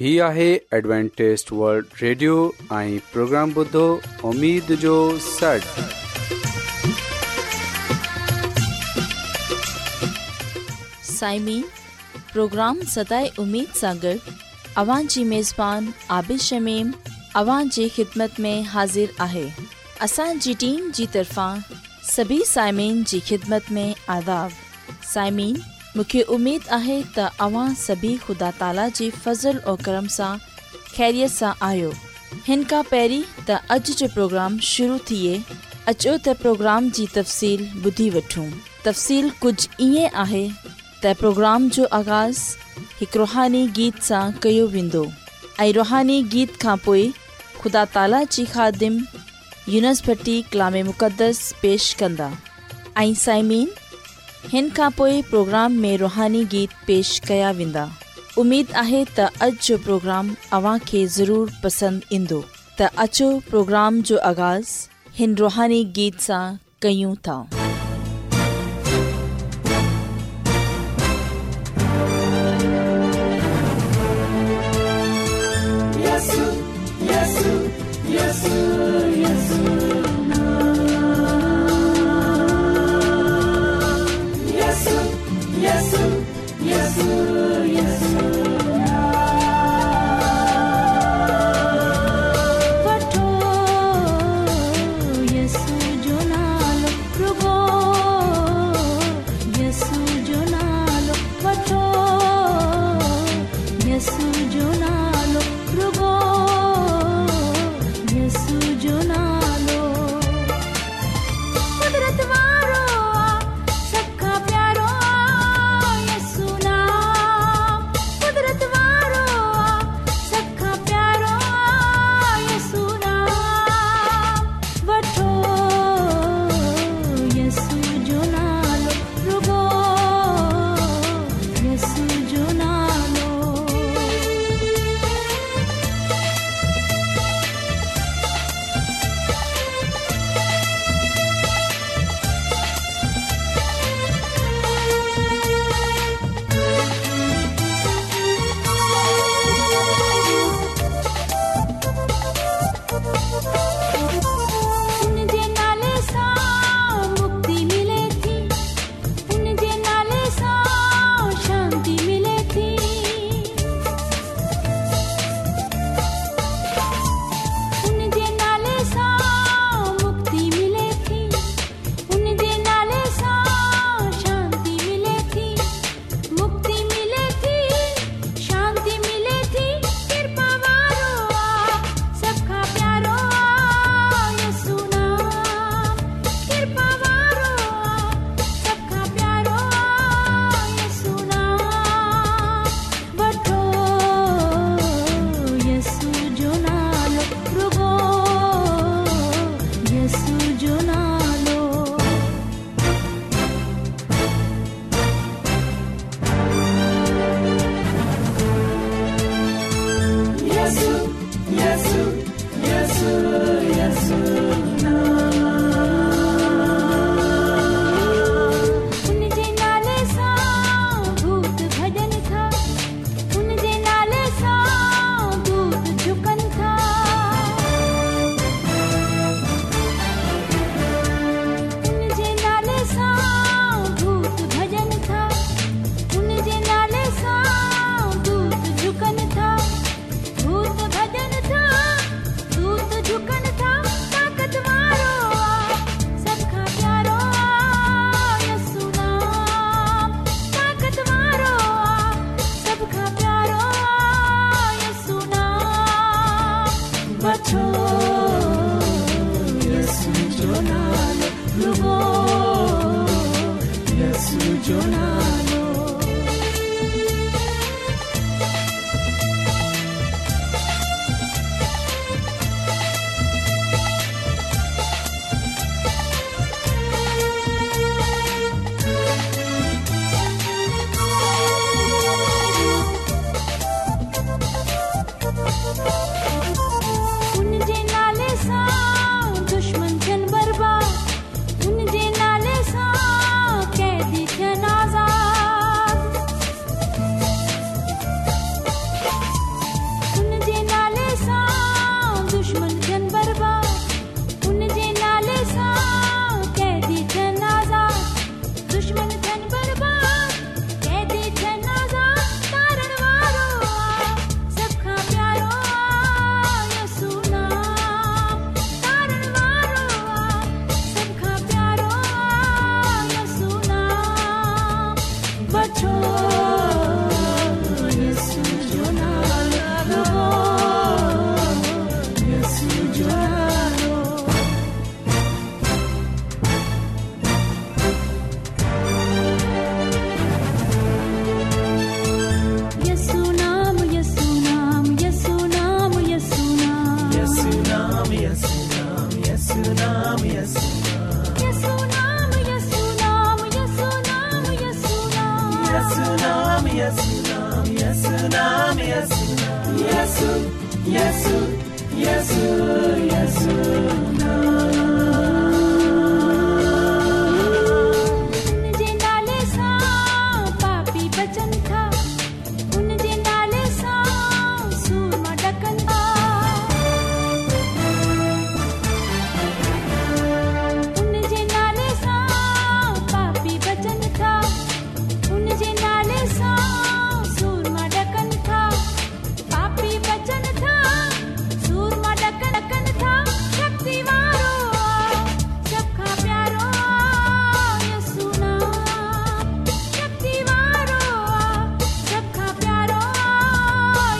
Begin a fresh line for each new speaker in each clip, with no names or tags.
ہی ہے Adventist world radio ऐं programme ॿुधो उम्मीद जो सॾु
साइमीन प्रोग्राम सदाए उमेद सां गॾु अवां जी मेज़बानी आबिद शमीम अवां जी ख़िदमत में हाज़िर आहे असांजी टीम जी तरफ़ां सभी साइमिन जी ख़िदमत में आदाब साइमिन मूंखे उमेद आहे त अवां सभी ख़ुदा ताला जे फज़ल और करम सां ख़ैरियत सां आहियो हिन खां पहिरीं त अॼु जो प्रोग्राम शुरू थिए अचो त प्रोग्राम जी तफ़सील ॿुधी वठूं तफ़सील कुझु ईअं आहे त प्रोग्राम जो आगाज़ हिकु रुहानी गीत सां कयो वेंदो ऐं रुहानी गीत खां पोइ ख़ुदा ताला जी खादिम यूनिसभटी कलाम मुक़दस पेश कंदा ऐं साइमीन हिन खां पोइ प्रोग्राम में रुहानी गीत पेश कया वेंदा उमेद आहे त अॼु जो प्रोग्राम अव्हां खे ज़रूरु पसंदि ईंदो त अचो प्रोग्राम जो आगाज़ हिन रुहानी गीत सां कयूं था
जो नालो उनजे नाले सां पापी बचनि था उनजे नाले सां सूरमा ॾकनि था उनजे नाले सां पापी बचनि था उनजे नाले सां सूरमा ॾकनि था पापी बचनि था सूरमा ॾकनि ॾकनि था शक्ति वारो सभ खां प्यारो यसू नाम शक्ति वारो सभ खां प्यारो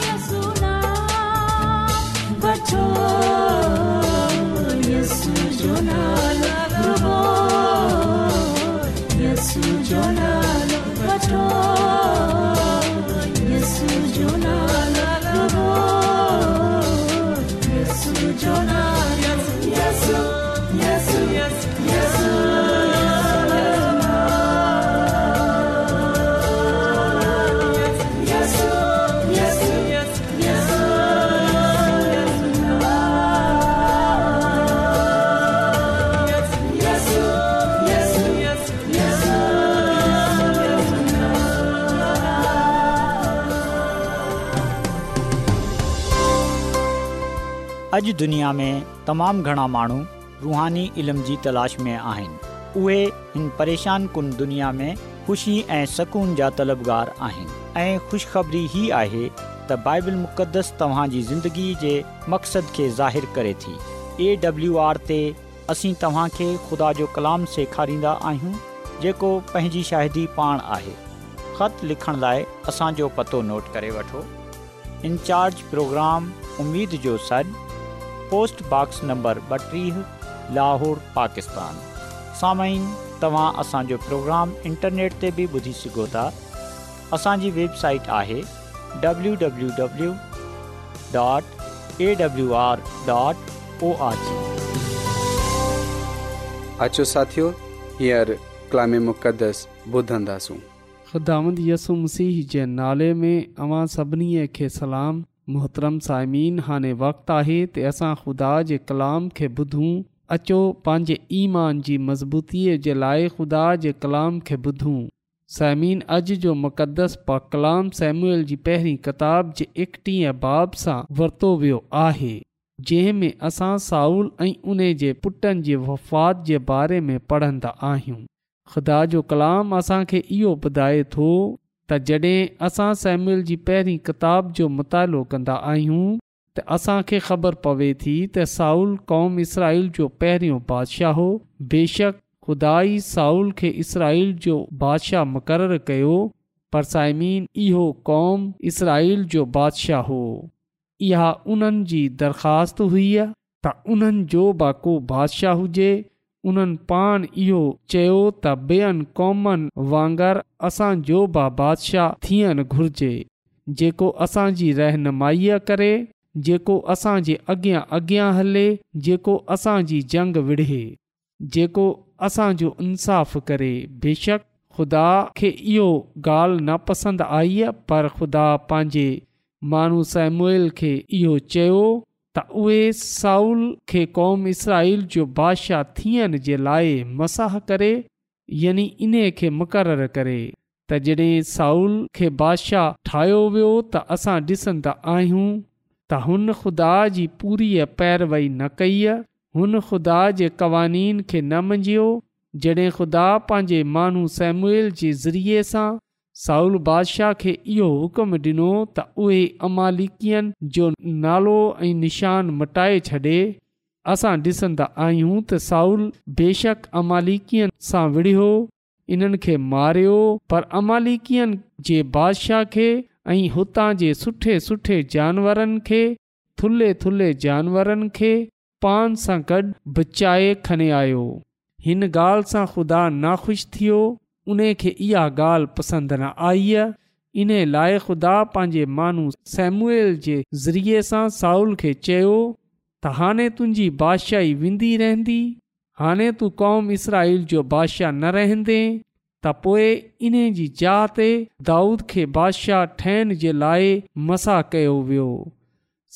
यसू नाम बचो यसू जो नालो प्रभो यसू जो नालो बचो यसू जो नालो प्रभो यसू जो नालो यसू यसू यसू यसू यसू यसू
अॼु दुनिया में तमामु घणा माण्हू रुहानी इल्म जी तलाश में आहिनि उहे हिन परेशान कुन दुनिया में ख़ुशी ऐं सुकून जा तलबगार आहिनि ऐं ख़ुशख़बरी ई आहे त बाइबल मुक़दस तव्हां जी ज़िंदगी जे मक़सद खे ज़ाहिरु करे थी ए डब्लू आर ते असीं तव्हांखे ख़ुदा जो कलाम सेखारींदा आहियूं जेको पंहिंजी शाहिदी पाण आहे ख़त लिखण लाइ असांजो पतो नोट करे वठो इंचार्ज प्रोग्राम उमेद जो सॾु पोस्ट बॉक्स नंबर ॿटीह लाहौर पाकिस्तान साम्हूं तव्हां असांजो प्रोग्राम इंटरनेट ते बि ॿुधी सघो था असांजी वेबसाइट आहे www.awr.org
अचो साथियो हींअर कलाम मुक़दस ॿुधंदासूं
ख़ुदावंद यसु मसीह जे नाले में अवां सभिनी खे सलाम मोहतरम साइमीन हाणे वक़्तु आहे त असां ख़ुदा जे कलाम खे ॿुधूं अचो पंहिंजे ईमान जी मज़बूतीअ जे लाइ ख़ुदा जे कलाम खे ॿुधूं साइमीन अॼु जो मुक़दस पा कलाम सैमुअल जी पहिरीं किताब जे एकटीह बाब सां वरितो वियो आहे जंहिंमें असां साउल ऐं उन जे पुटनि जे वफ़ात जे बारे में पढ़ंदा आहियूं ख़ुदा जो कलाम असांखे इहो ॿुधाए थो त जॾहिं असां सैम्यूल जी पहिरीं किताब जो मुतालो कंदा आहियूं त असांखे ख़बर पवे थी त साउल क़ौम इसराईल जो पहिरियों बादशाह हो बेशक ख़ुदा ई साउल खे इसराईल जो बादशाह मुक़ररु कयो पर साइमीन इहो क़ौम इसराईल जो बादशाह हो इहा उन्हनि जी दरख़्वास्त हुई त उन्हनि जो बाको बादशाह हुजे उन्हनि पाण इहो चयो त ॿियनि क़ौमनि वांगुरु असांजो बा बादशाह थियणु घुर्जे जेको असांजी रहनुमाईअ करे जेको असांजे अॻियां अॻियां हले जेको असांजी जंग विढ़े जेको असांजो इंसाफ़ करे बेशक ख़ुदा खे इहो ॻाल्हि नापसंदि आई आहे पर ख़ुदा पंहिंजे माण्हू सैमुएल खे इहो चयो त उहे साउल खे क़ौम इसराईल जो बादशाह थियण जे लाइ मसाह करे यानी इन खे मुक़ररु करे त जॾहिं साउल खे बादशाह ठाहियो वियो त असां ॾिसंदा आहियूं त हुन ख़ुदा जी पूरी पैरवई न कई हुन ख़ुदा जे क़वानीन खे न मंझियो जॾहिं ख़ुदा पंहिंजे माण्हू सैमुएल जे ज़रिए सां साउल बादशाह खे इहो हुकुम ॾिनो त उहे अमालिकियन जो नालो ऐं निशान मटाए छॾे असां ॾिसंदा आहियूं त साउल बेशक अमालिकियन सां विढ़ियो इन्हनि खे मारियो पर अमालिकियन जे बादशाह खे ऐं हुतां जे सुठे सुठे जानवरनि खे थुल्हे थुल्हे जानवरनि खे पान सां गॾु बचाए खणे आयो हिन ॻाल्हि सां ख़ुदा नाख़ुशि थियो उन खे इहा ॻाल्हि पसंदि न आई आहे इन लाइ ख़ुदा पंहिंजे माण्हू सैमुएल जे ज़रिए सां साउल खे चयो त हाणे तुंहिंजी बादशाही वेंदी रहंदी हाणे तूं क़ौम इसराईल जो बादशाह न रहंदे त पोइ इन जी जाइ ते दाऊद खे बादशाह ठहिण जे लाइ मसाह कयो वियो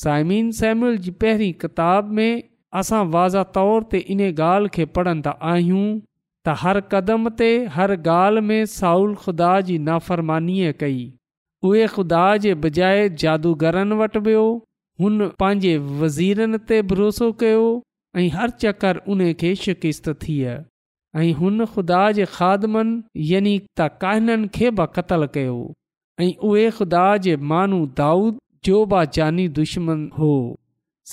साइमिन सैमुअल जी पहिरीं किताब में असां वाज़ा तौर ते इन ॻाल्हि खे पढ़ंदा आहियूं त हर क़दम ते हर ॻाल्हि में साउल ख़ुदा जी नाफ़रमानीअ कई उहे ख़ुदा जे बजाए जादूगरनि वटि वियो हुन पंहिंजे वज़ीरनि ते भरोसो कयो ऐं हर चकर उन खे शिकिस्त थी ऐं हुन ख़ुदा जे खादमनि यानी त काहिननि खे बि क़तलु कयो ऐं उहे ख़ुदा जे माण्हू दाऊद जो बि जानी दुश्मन हो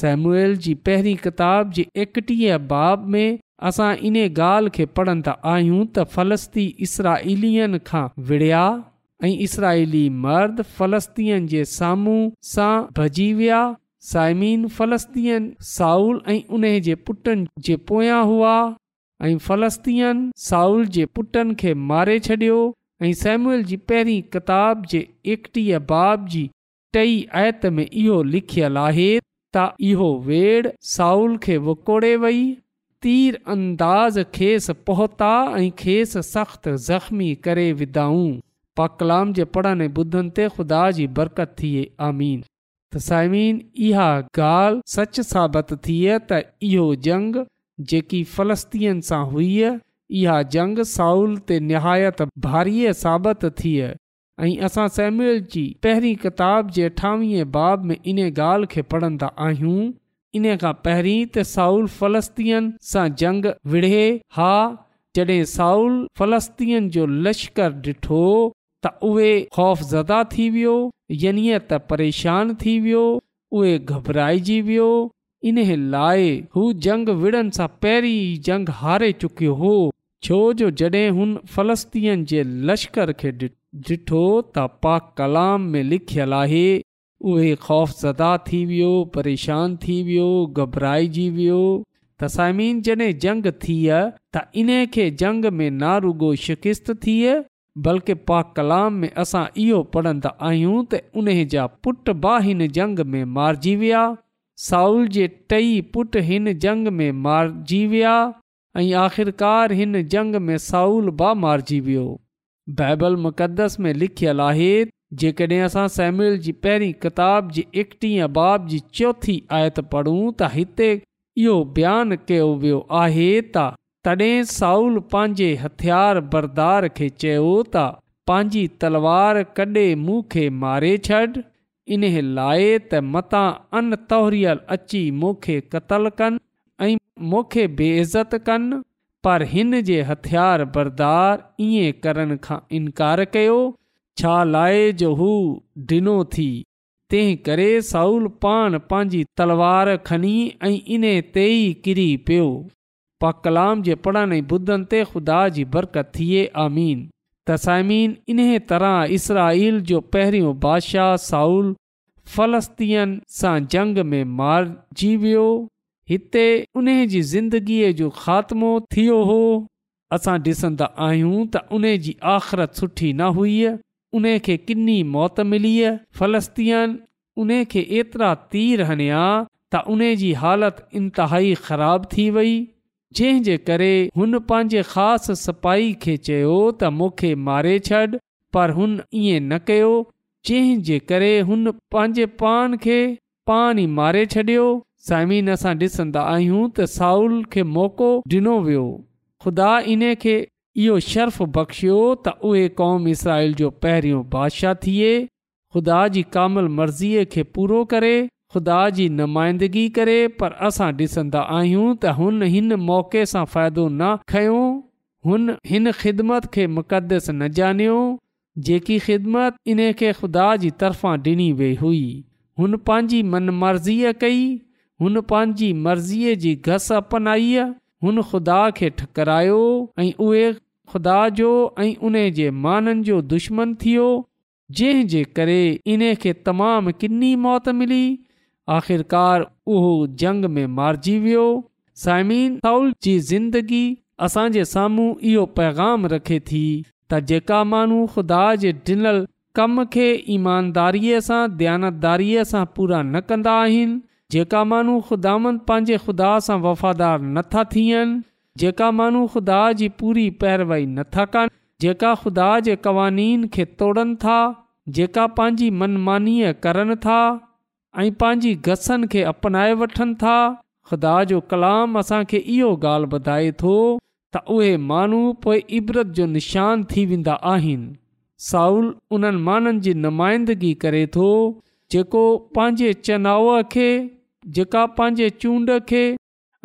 सैमुएल जी पहिरीं किताब जे एकटीह बाब में असां इन ॻाल्हि खे पढ़ंदा आहियूं त फ़लस्ती इसराईलियन खां विड़िया ऐं इसराईली मर्द फ़लस्तीन जे साम्हूं सां भॼी विया साइमीन फ़लस्तीन साउल ऐं उन जे पुटनि जे पोयां हुआ ऐं फ़लस्तीन साउल जे पुटनि खे मारे छॾियो ऐं सैमुअल जी पहिरीं किताब जे एकटीह बाब जी टई आयत में इहो लिखियलु आहे त इहो वेड़ साउल खे वकोड़े वई तीर अंदाज़ खेसि पहुता ऐं खेसि सख़्तु ज़ख़्मी करे विधाऊं पा कलाम जे पढ़नि ॿुधनि ते ख़ुदा जी बरकत थिए आमीन त साइमीन इहा ॻाल्हि सच साबित थिए त इहो जंग जेकी फ़लस्तीन सां हुई इहा जंग साउल ते निहायत भारीअ साबित थिए ऐं असां सैम्यूल जी पहिरीं किताब जे अठावीह बाब में इन ॻाल्हि खे पढ़ंदा आहियूं इन खां पहिरीं त साउल फ़लस्तीन सां जंग विढ़े हा जॾहिं साउल फ़लस्तीन जो लश्कर ॾिठो त उहे ख़ौफ़ज़दा थी वियो यानी त परेशान थी वियो उहे घबराइजी वियो इन लाइ हू जंग विड़नि सां पहिरीं ई जंग हारे चुकियो हो छो जो जॾहिं हुन फ़लस्तीन जे लश्कर खे ॾिठो त पाक कलाम में लिखियलु आहे उहे ख़ौफ़ज़दा थी वियो परेशान थी वियो घबराइजी वियो त साइमीन जॾहिं जंग थिए त इन खे जंग में ना रुगो शिकिस्त थिए बल्कि पाक कलाम में असां इहो पढ़ंदा आहियूं त उन जा पुट बि हिन जंग में मारिजी विया साउल जे टई पुट हिन जंग में मारिजी विया ऐं आख़िरकार हिन जंग में साउल बि मारिजी वियो बाइबल मुक़दस में लिखियलु आहे जेकॾहिं असां सैम्यूल जी पहिरीं किताब जी एकटीह बाब जी चौथी आयत पढ़ूं त हिते इहो बयानु कयो वियो आहे त तॾहिं साउल पंहिंजे हथियार बरदार खे चयो त पंहिंजी तलवार कॾहिं मूं खे मारे छॾ इन लाइ त मतां अन तौरियल अची मूंखे क़तलु कनि ऐं मूंखे बेइज़त कनि पर हिन जे हथियार बरदार ईअं करण खां इनकार कयो छा लाइ जो हू ॾिनो थी तंहिं करे साउल पाण पंहिंजी तलवार खणी ऐं इन ते ई किरी पियो पा कलाम जे पढ़नि ऐं ॿुधनि ते ख़ुदा जी बरकत थिए आमीन तसाइमीन इन्हे तरह इसराईल जो पहिरियों बादशाह साउल फ़लस्तीन सां जंग में मारिजी वियो हिते उन जी ज़िंदगीअ जो ख़ात्मो थियो हो असां ॾिसंदा आहियूं त उन जी आख़िरत सुठी न हुई उन खे किनी मौत मिली फ़लस्तीन उन खे एतिरा तीर हणिया त उन जी हालति इंतिहाई ख़राब थी वई जंहिं जे करे हुन पंहिंजे ख़ासि सिपाही खे चयो त मूंखे मारे छॾ पर हुन ईअं न कयो जंहिं जे करे हुन पंहिंजे पान खे पान ई मारे छॾियो साइमीन असां ॾिसंदा आहियूं त साउल खे मौक़ो ॾिनो वियो ख़ुदा इन खे इहो शर्फ़ बख़्शियो त उहे क़ौम इसराइल जो पहिरियों बादशाह थिए ख़ुदा जी कामल मर्ज़ीअ खे पूरो करे ख़ुदा जी नुमाइंदगी करे पर असां ॾिसंदा आहियूं त हुन हिन मौक़े सां फ़ाइदो न खयो हुन हिन ख़िदमत खे मुक़दस न ॼाणियो जेकी ख़िदमत इन खे ख़ुदा जी तरफ़ां ॾिनी वई हुई हुन पंहिंजी मनमर्ज़ीअ कई हुन पंहिंजी मर्ज़ीअ जी घस अपनाई हुन ख़ुदा खे ठकरायो ऐं उहे ख़ुदा जो ऐं उन जे माननि जो दुश्मन थियो जंहिं जे करे इन खे तमामु किनी मौत मिली आख़िरकार उहो जंग में मारिजी वियो साइमीन साउल जी ज़िंदगी असांजे साम्हूं इहो पैगाम रखे थी त जेका माण्हू ख़ुदा जे ॾिनल कम खे ईमानदारीअ सां दयानतदारीअ सां पूरा न कंदा आहिनि जेका माण्हू ख़ुदांद पंहिंजे ख़ुदा सां वफ़ादार नथा थियनि जेका माण्हू ख़ुदा जी पूरी पैरवाई नथा कनि जेका ख़ुदा जे क़वानीन खे तोड़नि था जेका पंहिंजी मनमानीअ करनि था ऐं पंहिंजी गसनि खे अपनाए वठनि था ख़ुदा जो कलाम असांखे इहो ॻाल्हि ॿुधाए थो त उहे माण्हू पोइ इबरत जो निशान थी वेंदा आहिनि साउल उन्हनि माण्हुनि जी नुमाइंदगी करे थो जेको पंहिंजे चनाव खे जेका पंहिंजे चूंड खे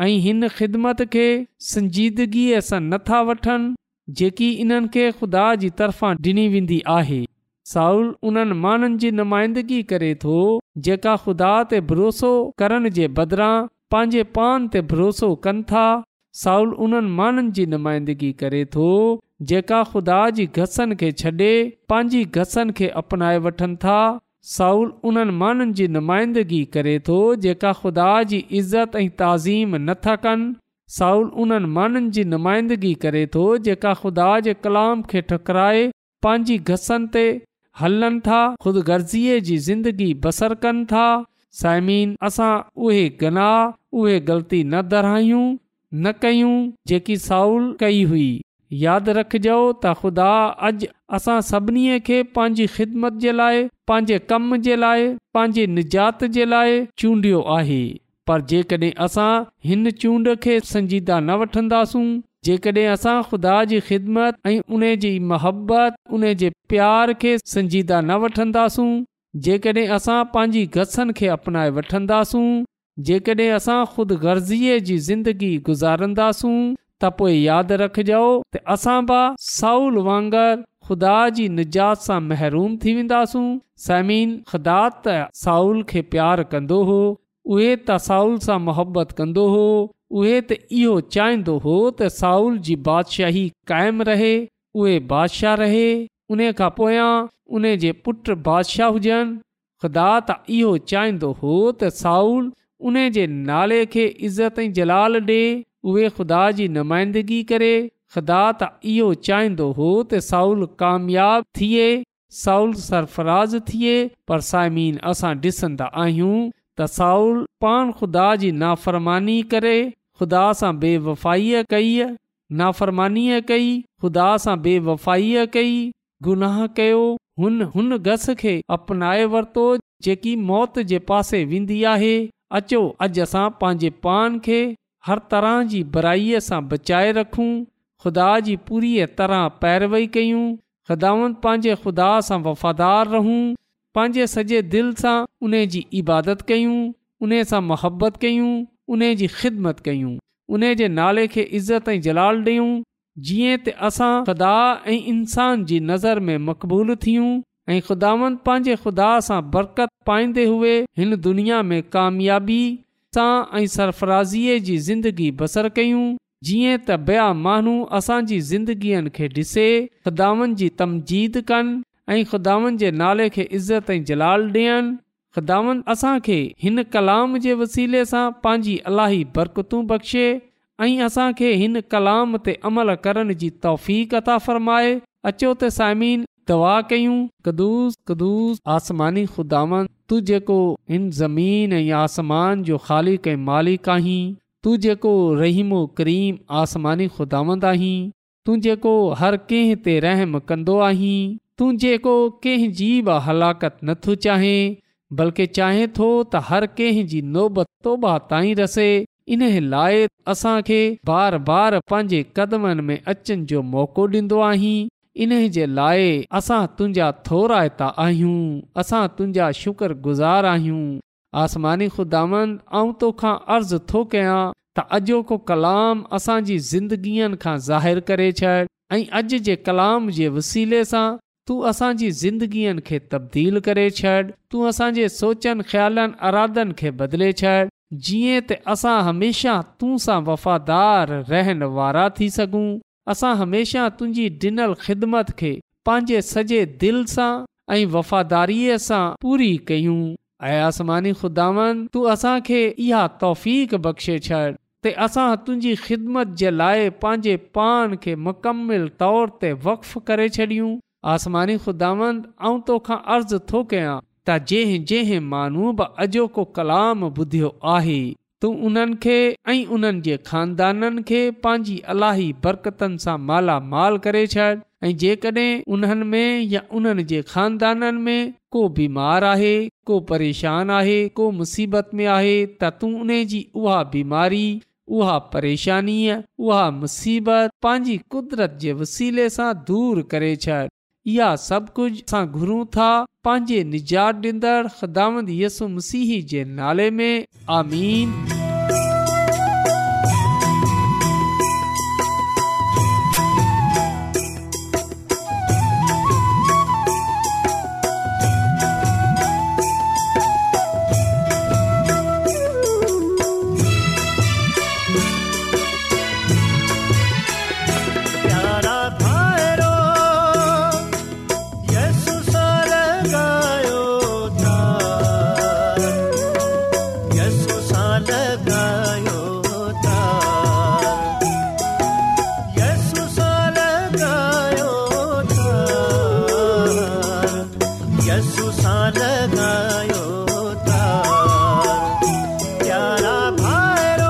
ऐं हिन ख़िदमत खे संजीदगीअ सां नथा वठनि जेकी इन्हनि खे ख़ुदा जी तरफ़ां ॾिनी वेंदी आहे साउल उन्हनि माण्हुनि जी नुमाइंदगी करे थो जेका ख़ुदा ते भरोसो करण जे बदिरां पंहिंजे पान ते भरोसो कनि था साउल उन्हनि माण्हुनि जी नुमाइंदगी करे थो जेका ख़ुदा जी घसनि खे छॾे पंहिंजी घसनि खे अपनाए वठनि था साउल उन्हनि माण्हुनि जी नुमाइंदगी करे थो जेका ख़ुदा जी इज़त ऐं ताज़ीम नथा कनि साउल उन्हनि माण्हुनि जी नुमाइंदगी करे थो जेका ख़ुदा जे कलाम खे ठुकराए पंहिंजी घसनि ते हलनि था ख़ुदि गर्ज़ीअ जी ज़िंदगी बसर कनि था साइमीन असां उहे गनाह उहे ग़लती न दरायूं न कयूं जेकी साउल कई हुई यादि रखजो त ख़ुदा अॼु असां सभिनी खे पंहिंजी ख़िदमत जे लाइ पंहिंजे कम जे लाइ पंहिंजे निजात जे लाइ चूंडियो आहे पर जेकॾहिं असां हिन चूंड खे संजीदा न वठंदासूं जेकॾहिं असां ख़ुदा जी ख़िदमत ऐं उन जी मोहबत उन जे प्यार खे संजीदा न वठंदासूं जेकॾहिं असां पंहिंजी घसनि खे अपनाए वठंदासूं जेकॾहिं असां ख़ुदि गर्ज़ीअ जी ज़िंदगी गुज़ारंदासूं त पोइ यादि रखजो त असां बि साउल वांगुरु ख़ुदा जी निजात सां महरूम थी वेंदासूं समीन ख़ुदा त साउल खे प्यारु कंदो हो उहे त साउल सां मुहबत कंदो हो उहे त इहो चाहींदो हो त साउल जी बादशाही क़ाइमु रहे उहे बादशाह रहे उन खां पोयां उन जे पुट बादशाह हुजनि ख़ुदा त इहो चाहींदो हो त साउल उन जे नाले खे इज़त ऐं जलाल ॾे उहे ख़ुदा जी नुमाइंदगी करे ख़ुदा त इहो चाहींदो हो त साउल कामयाब थिए साउल सरफराज़ थिए पर साइमीन असां ॾिसंदा आहियूं त साउल पाण ख़ुदा जी नाफ़रमानी करे ख़ुदा सां बेवफ़ाईअ कई नाफ़रमानीअ कई ख़ुदा सां बेवफ़ाईअ कई गुनाह कयो हुन हुन घस खे अपनाए वरितो जेकी मौत जे पासे वेंदी आहे अचो अॼु असां पंहिंजे पान खे हर तरह जी बुराईअ सां बचाए रखूं ख़ुदा जी पूरी तरह पैरवई कयूं ख़ुदावन पंहिंजे ख़ुदा सां वफ़ादार रहूं पंहिंजे सॼे दिलि सां उन जी इबादत कयूं उन सां मुहबत कयूं उन जी ख़िदमत कयूं उन जे नाले खे इज़त ऐं जलाल ॾियूं जीअं त असां ख़ुदा ऐं इंसान जी नज़र में मक़बूल थियूं ऐं ख़ुदावंद पंहिंजे ख़ुदा सां बरकत पाईंदे हुए हिन दुनिया में कामयाबी सां ऐं सरफराज़ीअ जी ज़िंदगी बसर कयूं जीअं त ॿिया माण्हू असांजी ज़िंदगीअ खे ॾिसे ख़ुदावनि जी तमजीद कनि ऐं ख़ुदावनि जे नाले खे इज़त ऐं जलाल ॾियनि ख़ुदावनि असांखे हिन कलाम जे वसीले सां पंहिंजी अलाही बरकतूं बख़्शे ऐं असांखे हिन कलाम ते अमल करण जी तौफ़ अता फ़रमाए अचो त साइमीन दवा कयूं कदुस कदुस आसमानी ख़ुदावन तू जेको हिन ज़मीन ऐं आसमान जो ख़ालिक ऐं मालिक आहीं तू जेको रहीमो करीम आसमानी ख़ुदावंद आहीं तूं जेको हर कंहिं ते रहम कंदो आहीं तूं जेको कंहिंजी बि हलाकत नथो चाहे बल्कि चाहे थो त हर कंहिंजी नोबत तोबा ताईं रसे इन लाइ असांखे बार बार पंहिंजे कदमनि में अचनि जो मौक़ो ॾींदो आहीं इन जे लाइ असां तुंहिंजा थोराइता आहियूं असां तुंहिंजा शुक्रगुज़ार आहियूं आसमानी ख़ुदांद आऊं तोखां अर्ज़ु थो कयां त अॼोको कलाम असांजी ज़िंदगीअ खां ज़ाहिरु करे छॾ ऐं अॼु जे कलाम जे वसीले सां तूं असांजी ज़िंदगीअ खे तब्दील करे छॾ तूं असांजे सोचनि ख़्यालनि अरादनि खे बदिले छॾ जीअं त असां हमेशह तूं सां वफ़ादार रहण वारा थी सघूं असां हमेशह तुंहिंजी ॾिनल ख़िदमत खे पंहिंजे सॼे दिलि सां ऐं वफ़ादारीअ सां पूरी कयूं ऐं आसमानी ख़ुदावन तूं असांखे इहा तौफ़ बख़्शे छॾ ते असां तुंहिंजी ख़िदमत जे लाइ पंहिंजे पान खे मुकमिल तौर ते वक़्फ़ करे छॾियूं आसमानी ख़ुदांद आऊं तोखां अर्ज़ु थो कयां त जंहिं जंहिं माण्हू बि अॼोको कलाम ॿुधियो आहे तूं उन्हनि खे ऐं उन्हनि जे खानदाननि खे पंहिंजी अलाही बरकतनि सां मालामाल करे छॾ ऐं जेकॾहिं उन्हनि में या उन्हनि जे खानदाननि में को बीमार आहे को परेशान आहे को मुसीबत में आहे त तूं उन जी उहा बीमारी उहा परेशानीअ उहा मुसीबत पंहिंजी कुदरत जे वसीले सां दूर करे छॾ इहा सभु कुझु असां घुरूं था पंहिंजे निजात ॾींदड़ ख़िदामत यसु मसीह जे नाले में आमीन
प्यारा भाइरो यसु साल गायो था यसु साल गायो था यसु साल गायो था यसु साल गायो था प्यारा भाइरो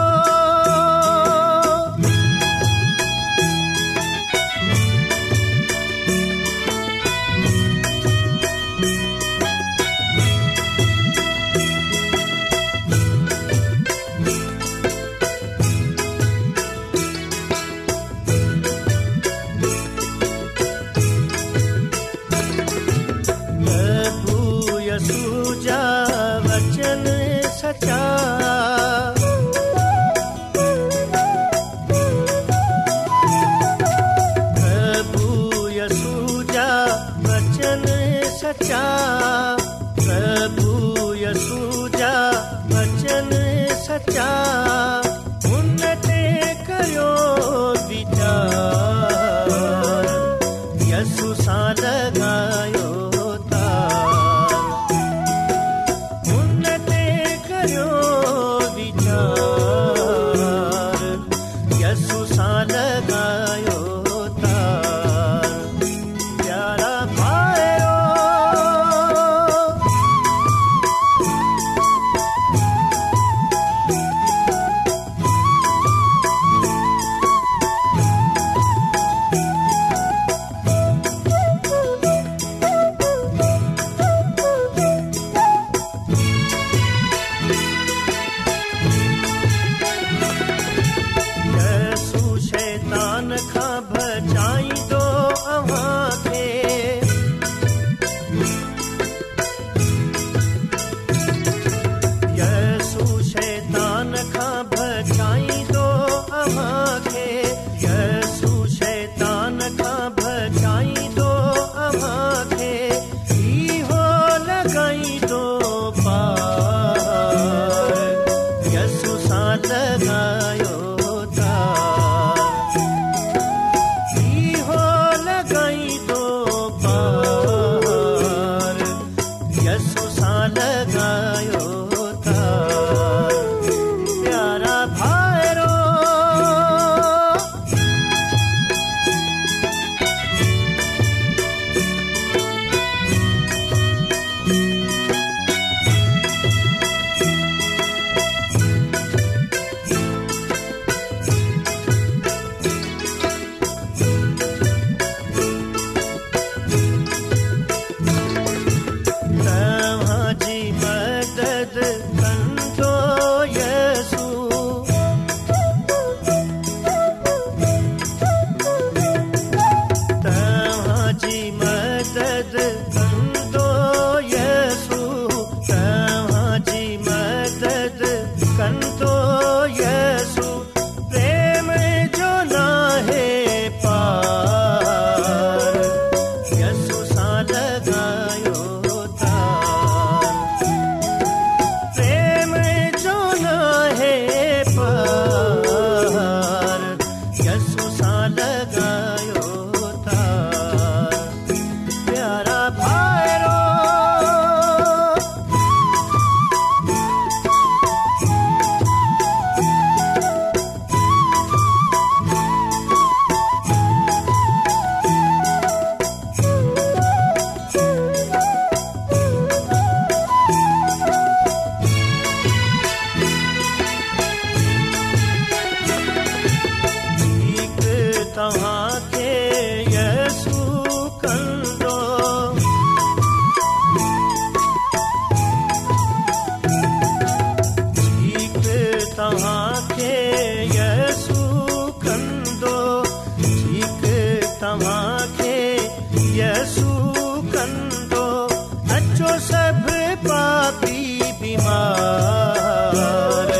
तार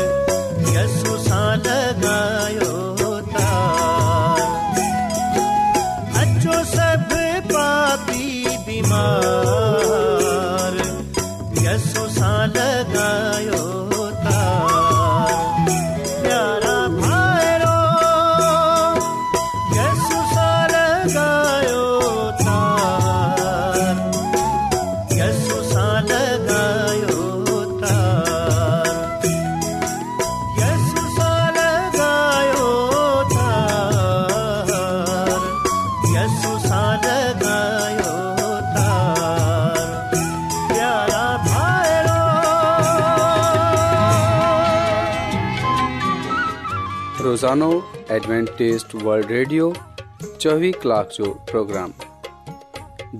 यसु सां लॻायो तार अचो सभु पापी बीमार यसु सां लॻायो तार प्यारा भाइरो यसु सां लॻायो तार यसु सां लॻायो तार यसु सां लॻायो तार यसु सां लॻायो तार प्यारा भाइरो
रोज़ानो एडवेंटेस्ट वर्ल्ड रेडियो चोवीह कलाक जो प्रोग्राम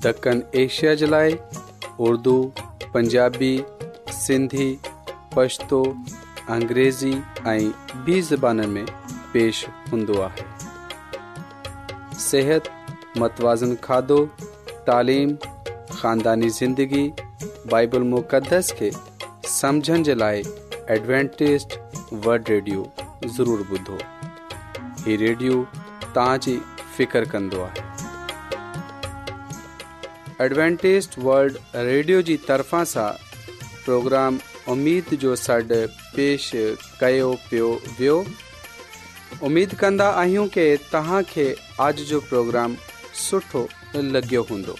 दखन एशिया जे लाइ उर्दू पंजाबी सिंधी पश्तो अंग्रेज़ी ऐं ॿी ज़बान में पेश हूंदो आहे सिहत मतवाज़न खाधो तालीम ख़ानदानी ज़िंदगी बाइबल मुक़दस खे सम्झण जे लाइ एडवेंटेस्ट वर्ल्ड रेडियो ज़रूरु ॿुधो हीउ रेडियो तव्हांजी फ़िकर कंदो आहे एडवेंटेस्ट वर्ल्ड रेडियो जी तरफ़ां सां प्रोग्राम उमेद जो सॾु पेश कयो पियो वियो उमेद कंदा आहियूं कि तव्हांखे अॼु जो प्रोग्राम सुठो लॻियो हूंदो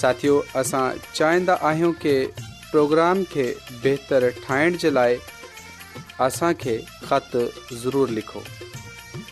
साथियो असां चाहींदा आहियूं कि प्रोग्राम खे बहितर ठाहिण जे लाइ असांखे ख़त ज़रूरु लिखो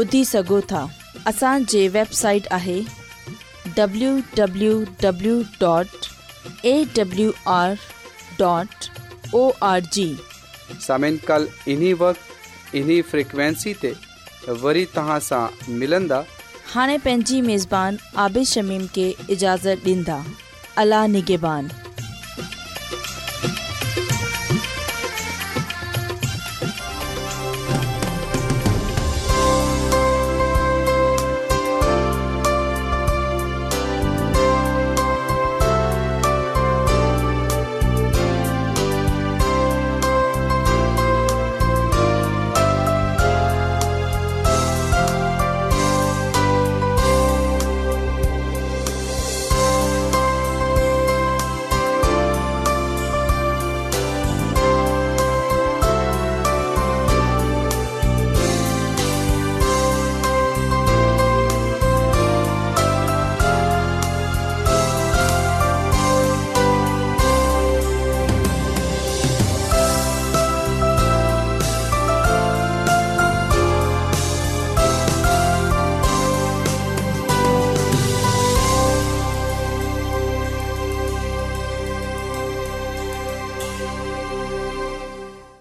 ॿुधी सघो था असांजे वेबसाइट आहे www.awr.org
सामिन कल इन्ही वक़्तु इन्ही फ्रिक्वेंसी ते वरी तव्हां सां मिलंदा
हाणे पंहिंजी मेज़बान आबिद शमीम खे इजाज़त ॾींदा अला निगेबान